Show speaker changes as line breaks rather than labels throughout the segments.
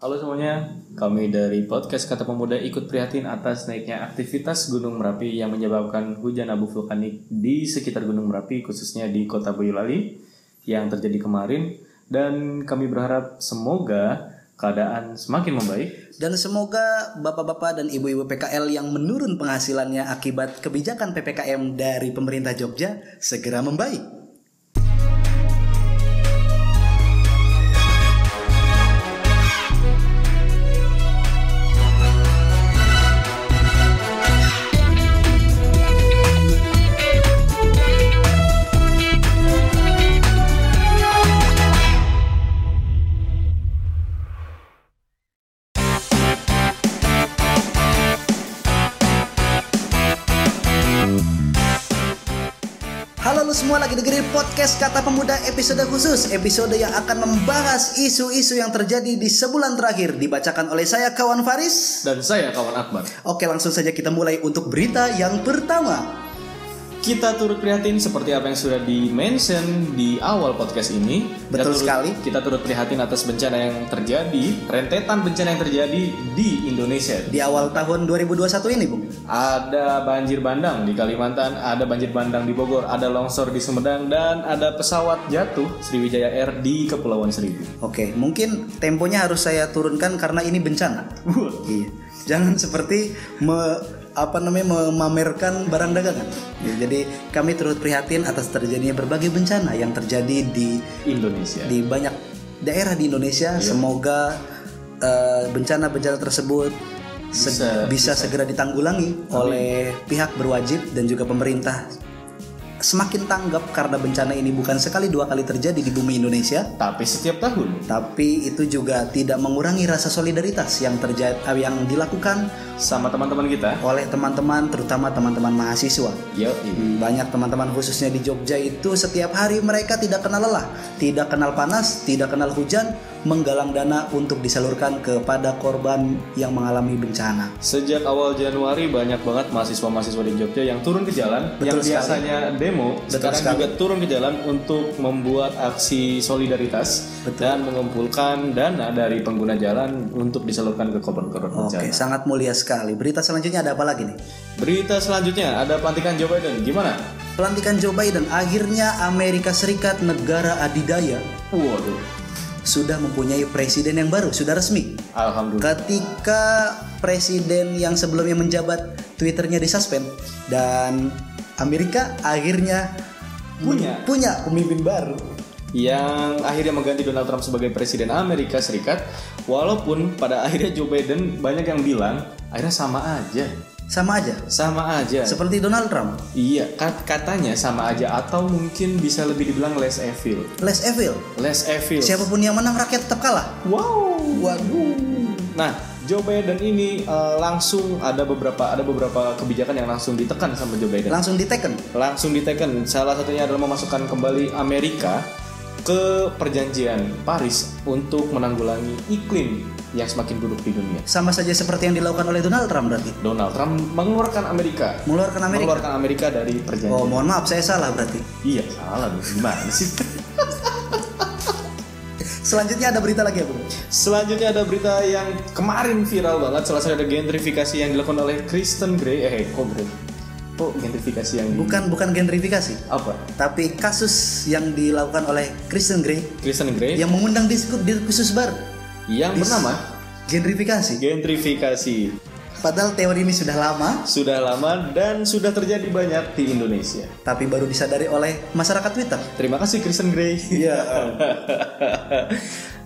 Halo semuanya, kami dari podcast Kata Pemuda ikut prihatin atas naiknya aktivitas Gunung Merapi yang menyebabkan hujan abu vulkanik di sekitar Gunung Merapi khususnya di Kota Boyolali yang terjadi kemarin dan kami berharap semoga keadaan semakin membaik
Dan semoga bapak-bapak dan ibu-ibu PKL yang menurun penghasilannya akibat kebijakan PPKM dari pemerintah Jogja segera membaik. Halo lu semua lagi dengerin podcast Kata Pemuda episode khusus, episode yang akan membahas isu-isu yang terjadi di sebulan terakhir dibacakan oleh saya kawan Faris.
dan saya kawan Akbar.
Oke, langsung saja kita mulai untuk berita yang pertama.
Kita turut prihatin seperti apa yang sudah di-mention di awal podcast ini. Kita
Betul
turut-
sekali.
Kita turut prihatin atas bencana yang terjadi, rentetan bencana yang terjadi di Indonesia.
Di awal tahun 2021 ini, Bung.
Ada banjir bandang di Kalimantan, ada banjir bandang di Bogor, ada longsor di Sumedang, dan ada pesawat jatuh Sriwijaya Air di Kepulauan Seribu.
Oke, mungkin temponya harus saya turunkan karena ini bencana. Iya. Jangan seperti me- apa namanya memamerkan barang dagangan. Ya, jadi kami turut prihatin atas terjadinya berbagai bencana yang terjadi di
Indonesia.
di banyak daerah di Indonesia. Semoga eh, bencana-bencana tersebut se-
Bisa-
bisa, segera ditanggulangi oleh pihak berwajib dan juga pemerintah. Semakin tanggap karena bencana ini bukan sekali dua kali terjadi di bumi Indonesia.
Tapi setiap tahun
Tapi itu juga tidak mengurangi rasa solidaritas yang terjadi yang dilakukan
sama teman-teman kita.
oleh teman-teman terutama teman-teman mahasiswa.
Yo,
Hmm, Banyak teman-teman khususnya di Jogja itu setiap hari mereka tidak kenal lelah, tidak kenal panas, tidak kenal hujan, menggalang dana untuk disalurkan kepada korban yang mengalami bencana.
Sejak awal Januari banyak banget mahasiswa-mahasiswa di Jogja yang turun ke jalan
Betul
yang
sekali.
biasanya demo
Betul
sekarang
sekali.
juga turun ke jalan untuk membuat aksi solidaritas
Betul.
dan mengumpulkan dana dari pengguna jalan untuk disalurkan ke korban-korban bencana.
Oke, sangat mulia sekali. Berita selanjutnya ada apa lagi nih?
Berita selanjutnya ada pelantikan Joe Biden. Gimana?
Pelantikan Joe Biden akhirnya Amerika Serikat negara adidaya
Waduh.
sudah mempunyai presiden yang baru, sudah resmi.
Alhamdulillah.
ketika presiden yang sebelumnya menjabat twitternya disuspend dan Amerika akhirnya
Punya.
punya pemimpin baru
Yang akhirnya mengganti Donald Trump sebagai presiden Amerika Serikat. Walaupun pada akhirnya Joe Biden banyak yang bilang akhirnya sama aja.
sama aja
Sama aja.
seperti Donald Trump
Iya, kat- katanya sama aja atau mungkin bisa lebih dibilang less evil.
Les Evil
Less evil.
siapapun yang menang rakyat tetap kalah
Wow.
waduh
Nah, Joe Biden ini eh, langsung ada beberapa ada beberapa kebijakan yang langsung ditekan sama Joe Biden.
langsung diteken
Langsung diteken. Salah satunya adalah memasukkan kembali Amerika ke perjanjian Paris untuk menanggulangi iklim yang semakin buruk di dunia.
sama saja seperti yang dilakukan oleh Donald Trump berarti
Donald Trump mengeluarkan Amerika,
mengeluarkan Amerika
mengeluarkan Amerika dari
oh
perjanjian.
mohon maaf saya salah berarti
Iya, salah lu. gimana sih?
selanjutnya ada berita lagi ya bro
Selanjutnya ada berita yang kemarin viral banget Salah satu ada gentrifikasi yang dilakukan oleh Kristen Grey Eh, kok Grey? Kok gentrifikasi yang di-
bukan bukan gentrifikasi
Apa?
tapi kasus yang dilakukan oleh Kristen Grey
Kristen Grey
yang mengundang diskus diskursus baru
yang
Dis-
bernama
gentrifikasi
Gentrifikasi
padahal teori ini sudah lama
Sudah lama dan sudah terjadi banyak di Indonesia
tapi baru disadari oleh masyarakat Twitter
Terima kasih Kristen Grey
Iya.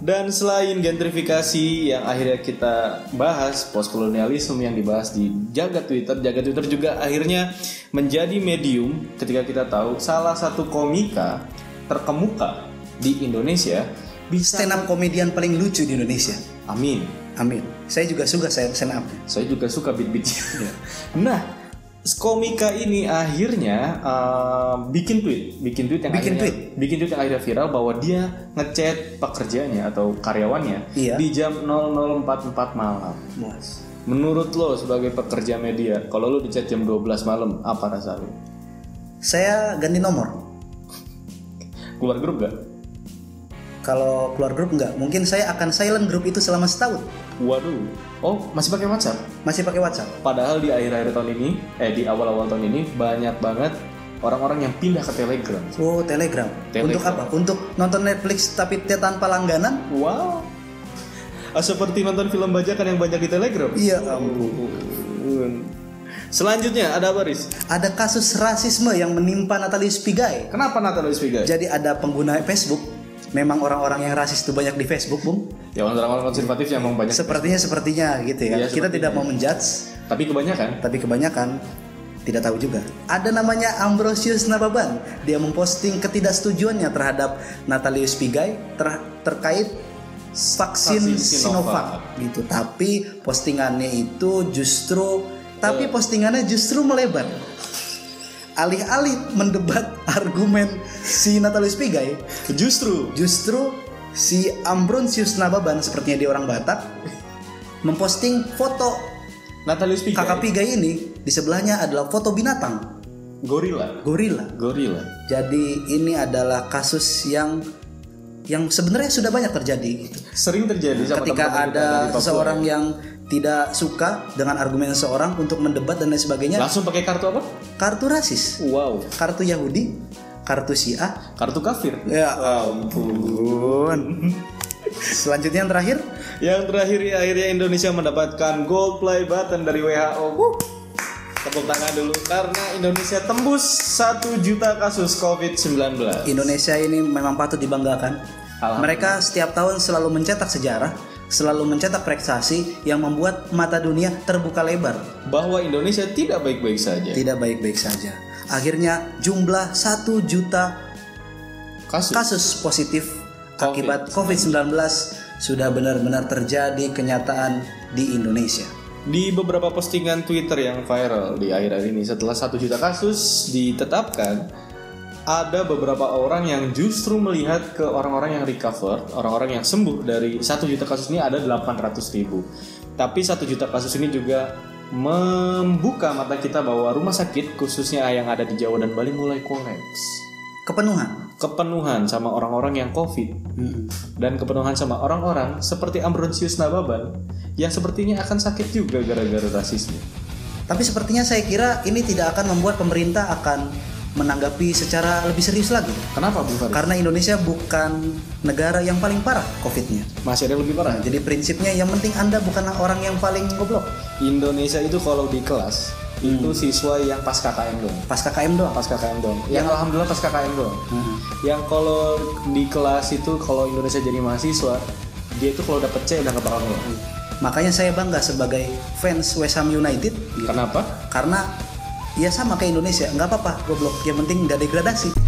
Dan selain gentrifikasi yang akhirnya kita bahas, postkolonialisme yang dibahas di Jaga Twitter, Jaga Twitter juga akhirnya menjadi medium ketika kita tahu salah satu komika terkemuka di Indonesia bisa
stand up komedian paling lucu di Indonesia
Amin.
amin saya juga suka saya stand up
Saya juga suka beat-beatnya. nah, komika ini akhirnya eh, bikin tweet, bikin tweet yang
Bikin
akhirnya, bikin tweet yang akhirnya viral bahwa dia ngechat pekerjanya atau karyawannya
Iya.
di jam 00.44 malam.
Muas.
Menurut lo sebagai pekerja media, kalau lo dicat jam 12 malam, apa rasa lo?
saya ganti nomor
Keluar grup gak?
Kalau keluar grup nggak, mungkin saya akan silent grup itu selama setahun.
Waduh. Oh, masih pakai WhatsApp?
Masih pakai WhatsApp.
Padahal di akhir-akhir tahun ini, eh di awal-awal tahun ini banyak banget orang-orang yang pindah ke Telegram.
Oh, Telegram.
Telegram.
Untuk apa? Untuk nonton Netflix tapi t- tanpa langganan?
Wow. Ah, Seperti nonton film bajakan yang banyak di Telegram. Ya
Iya ampun.
Ampun. Selanjutnya ada apa, Riz?
Ada kasus rasisme yang menimpa Natalius Pigai.
Kenapa Natalis Vega?
Jadi ada pengguna Facebook. Memang orang-orang yang rasis itu banyak di Facebook, Bung.
Ya orang-orang konservatif yang emang banyak.
Sepertinya sepertinya gitu ya.
Iya,
Kita tidak mau menjudge,
Tapi kebanyakan.
tapi kebanyakan tidak tahu juga. Ada namanya Ambrosius Nababan. Dia memposting ketidaksetujuannya terhadap Natalius Pigai ter- terkait
Vaksin
vaksin
Sinovac.
Sinovac gitu. Tapi postingannya itu justru tapi postingannya justru melebar. Alih-alih mendebat argumen si Natalius Pigai,
Justru
justru si Ambrosius Nababan sepertinya dia orang Batak memposting foto
Natalis Vega.
kakak Pigai ini di sebelahnya adalah foto binatang
Gorilla.
gorila.
Gorilla.
Jadi ini adalah kasus yang yang sebenarnya sudah banyak terjadi gitu.
Sering terjadi sama
ketika
teman-teman kita
ada
dari Papua.
seseorang yang tidak suka dengan argumen seorang untuk mendebat dan lain sebagainya
langsung pakai kartu apa?
kartu rasis
Wow.
kartu Yahudi kartu Syiah
Kartu kafir.
ya
Ampun.
ampun selanjutnya yang terakhir
Yang terakhir ya, akhirnya Indonesia mendapatkan gold play button dari WHO. Wuh. Tepuk tangan dulu karena Indonesia tembus 1 juta kasus COVID-19.
Indonesia ini memang patut dibanggakan.
Alhamdulillah.
Mereka setiap tahun selalu mencetak sejarah, selalu mencetak prestasi yang membuat mata dunia terbuka lebar.
Bahwa Indonesia tidak baik-baik saja.
Tidak baik-baik saja. Akhirnya jumlah 1 juta
Kasus.
kasus positif
Covid.
akibat COVID-19 sudah benar-benar terjadi kenyataan di Indonesia.
Di beberapa postingan Twitter yang viral di akhir-akhir ini setelah 1 juta kasus ditetapkan, ada beberapa orang yang justru melihat ke orang-orang yang recover, orang-orang yang sembuh dari 1 juta kasus ini ada 800 ribu. Tapi 1 juta kasus ini juga membuka mata kita bahwa rumah sakit khususnya yang ada di Jawa dan Bali mulai kolaps.
Kepenuhan.
Kepenuhan sama orang-orang yang COVID
Mm-mm.
dan kepenuhan sama orang-orang seperti Ambrosius Nababan yang sepertinya akan sakit juga gara-gara rasisme.
Tapi sepertinya saya kira ini tidak akan membuat pemerintah akan menanggapi secara lebih serius lagi.
Kenapa Bung Farid?
Karena Indonesia bukan negara yang paling parah COVID-nya.
Masih ada yang lebih parah.
Nah, jadi prinsipnya yang penting Anda bukanlah orang yang paling goblok.
Indonesia itu kalau di kelas itu siswa yang pas KKM dong.
Pas KKM doang.
Pas KKM dong. Yang alhamdulillah pas KKM dong. Yang kalau di kelas itu kalau Indonesia jadi mahasiswa dia itu kalau dapet C udah nggak bakal ngeluh.
Makanya saya bangga sebagai fans West Ham United gitu.
Kenapa?
karena ya sama kayak Indonesia nggak apa-apa goblok yang penting nggak degradasi.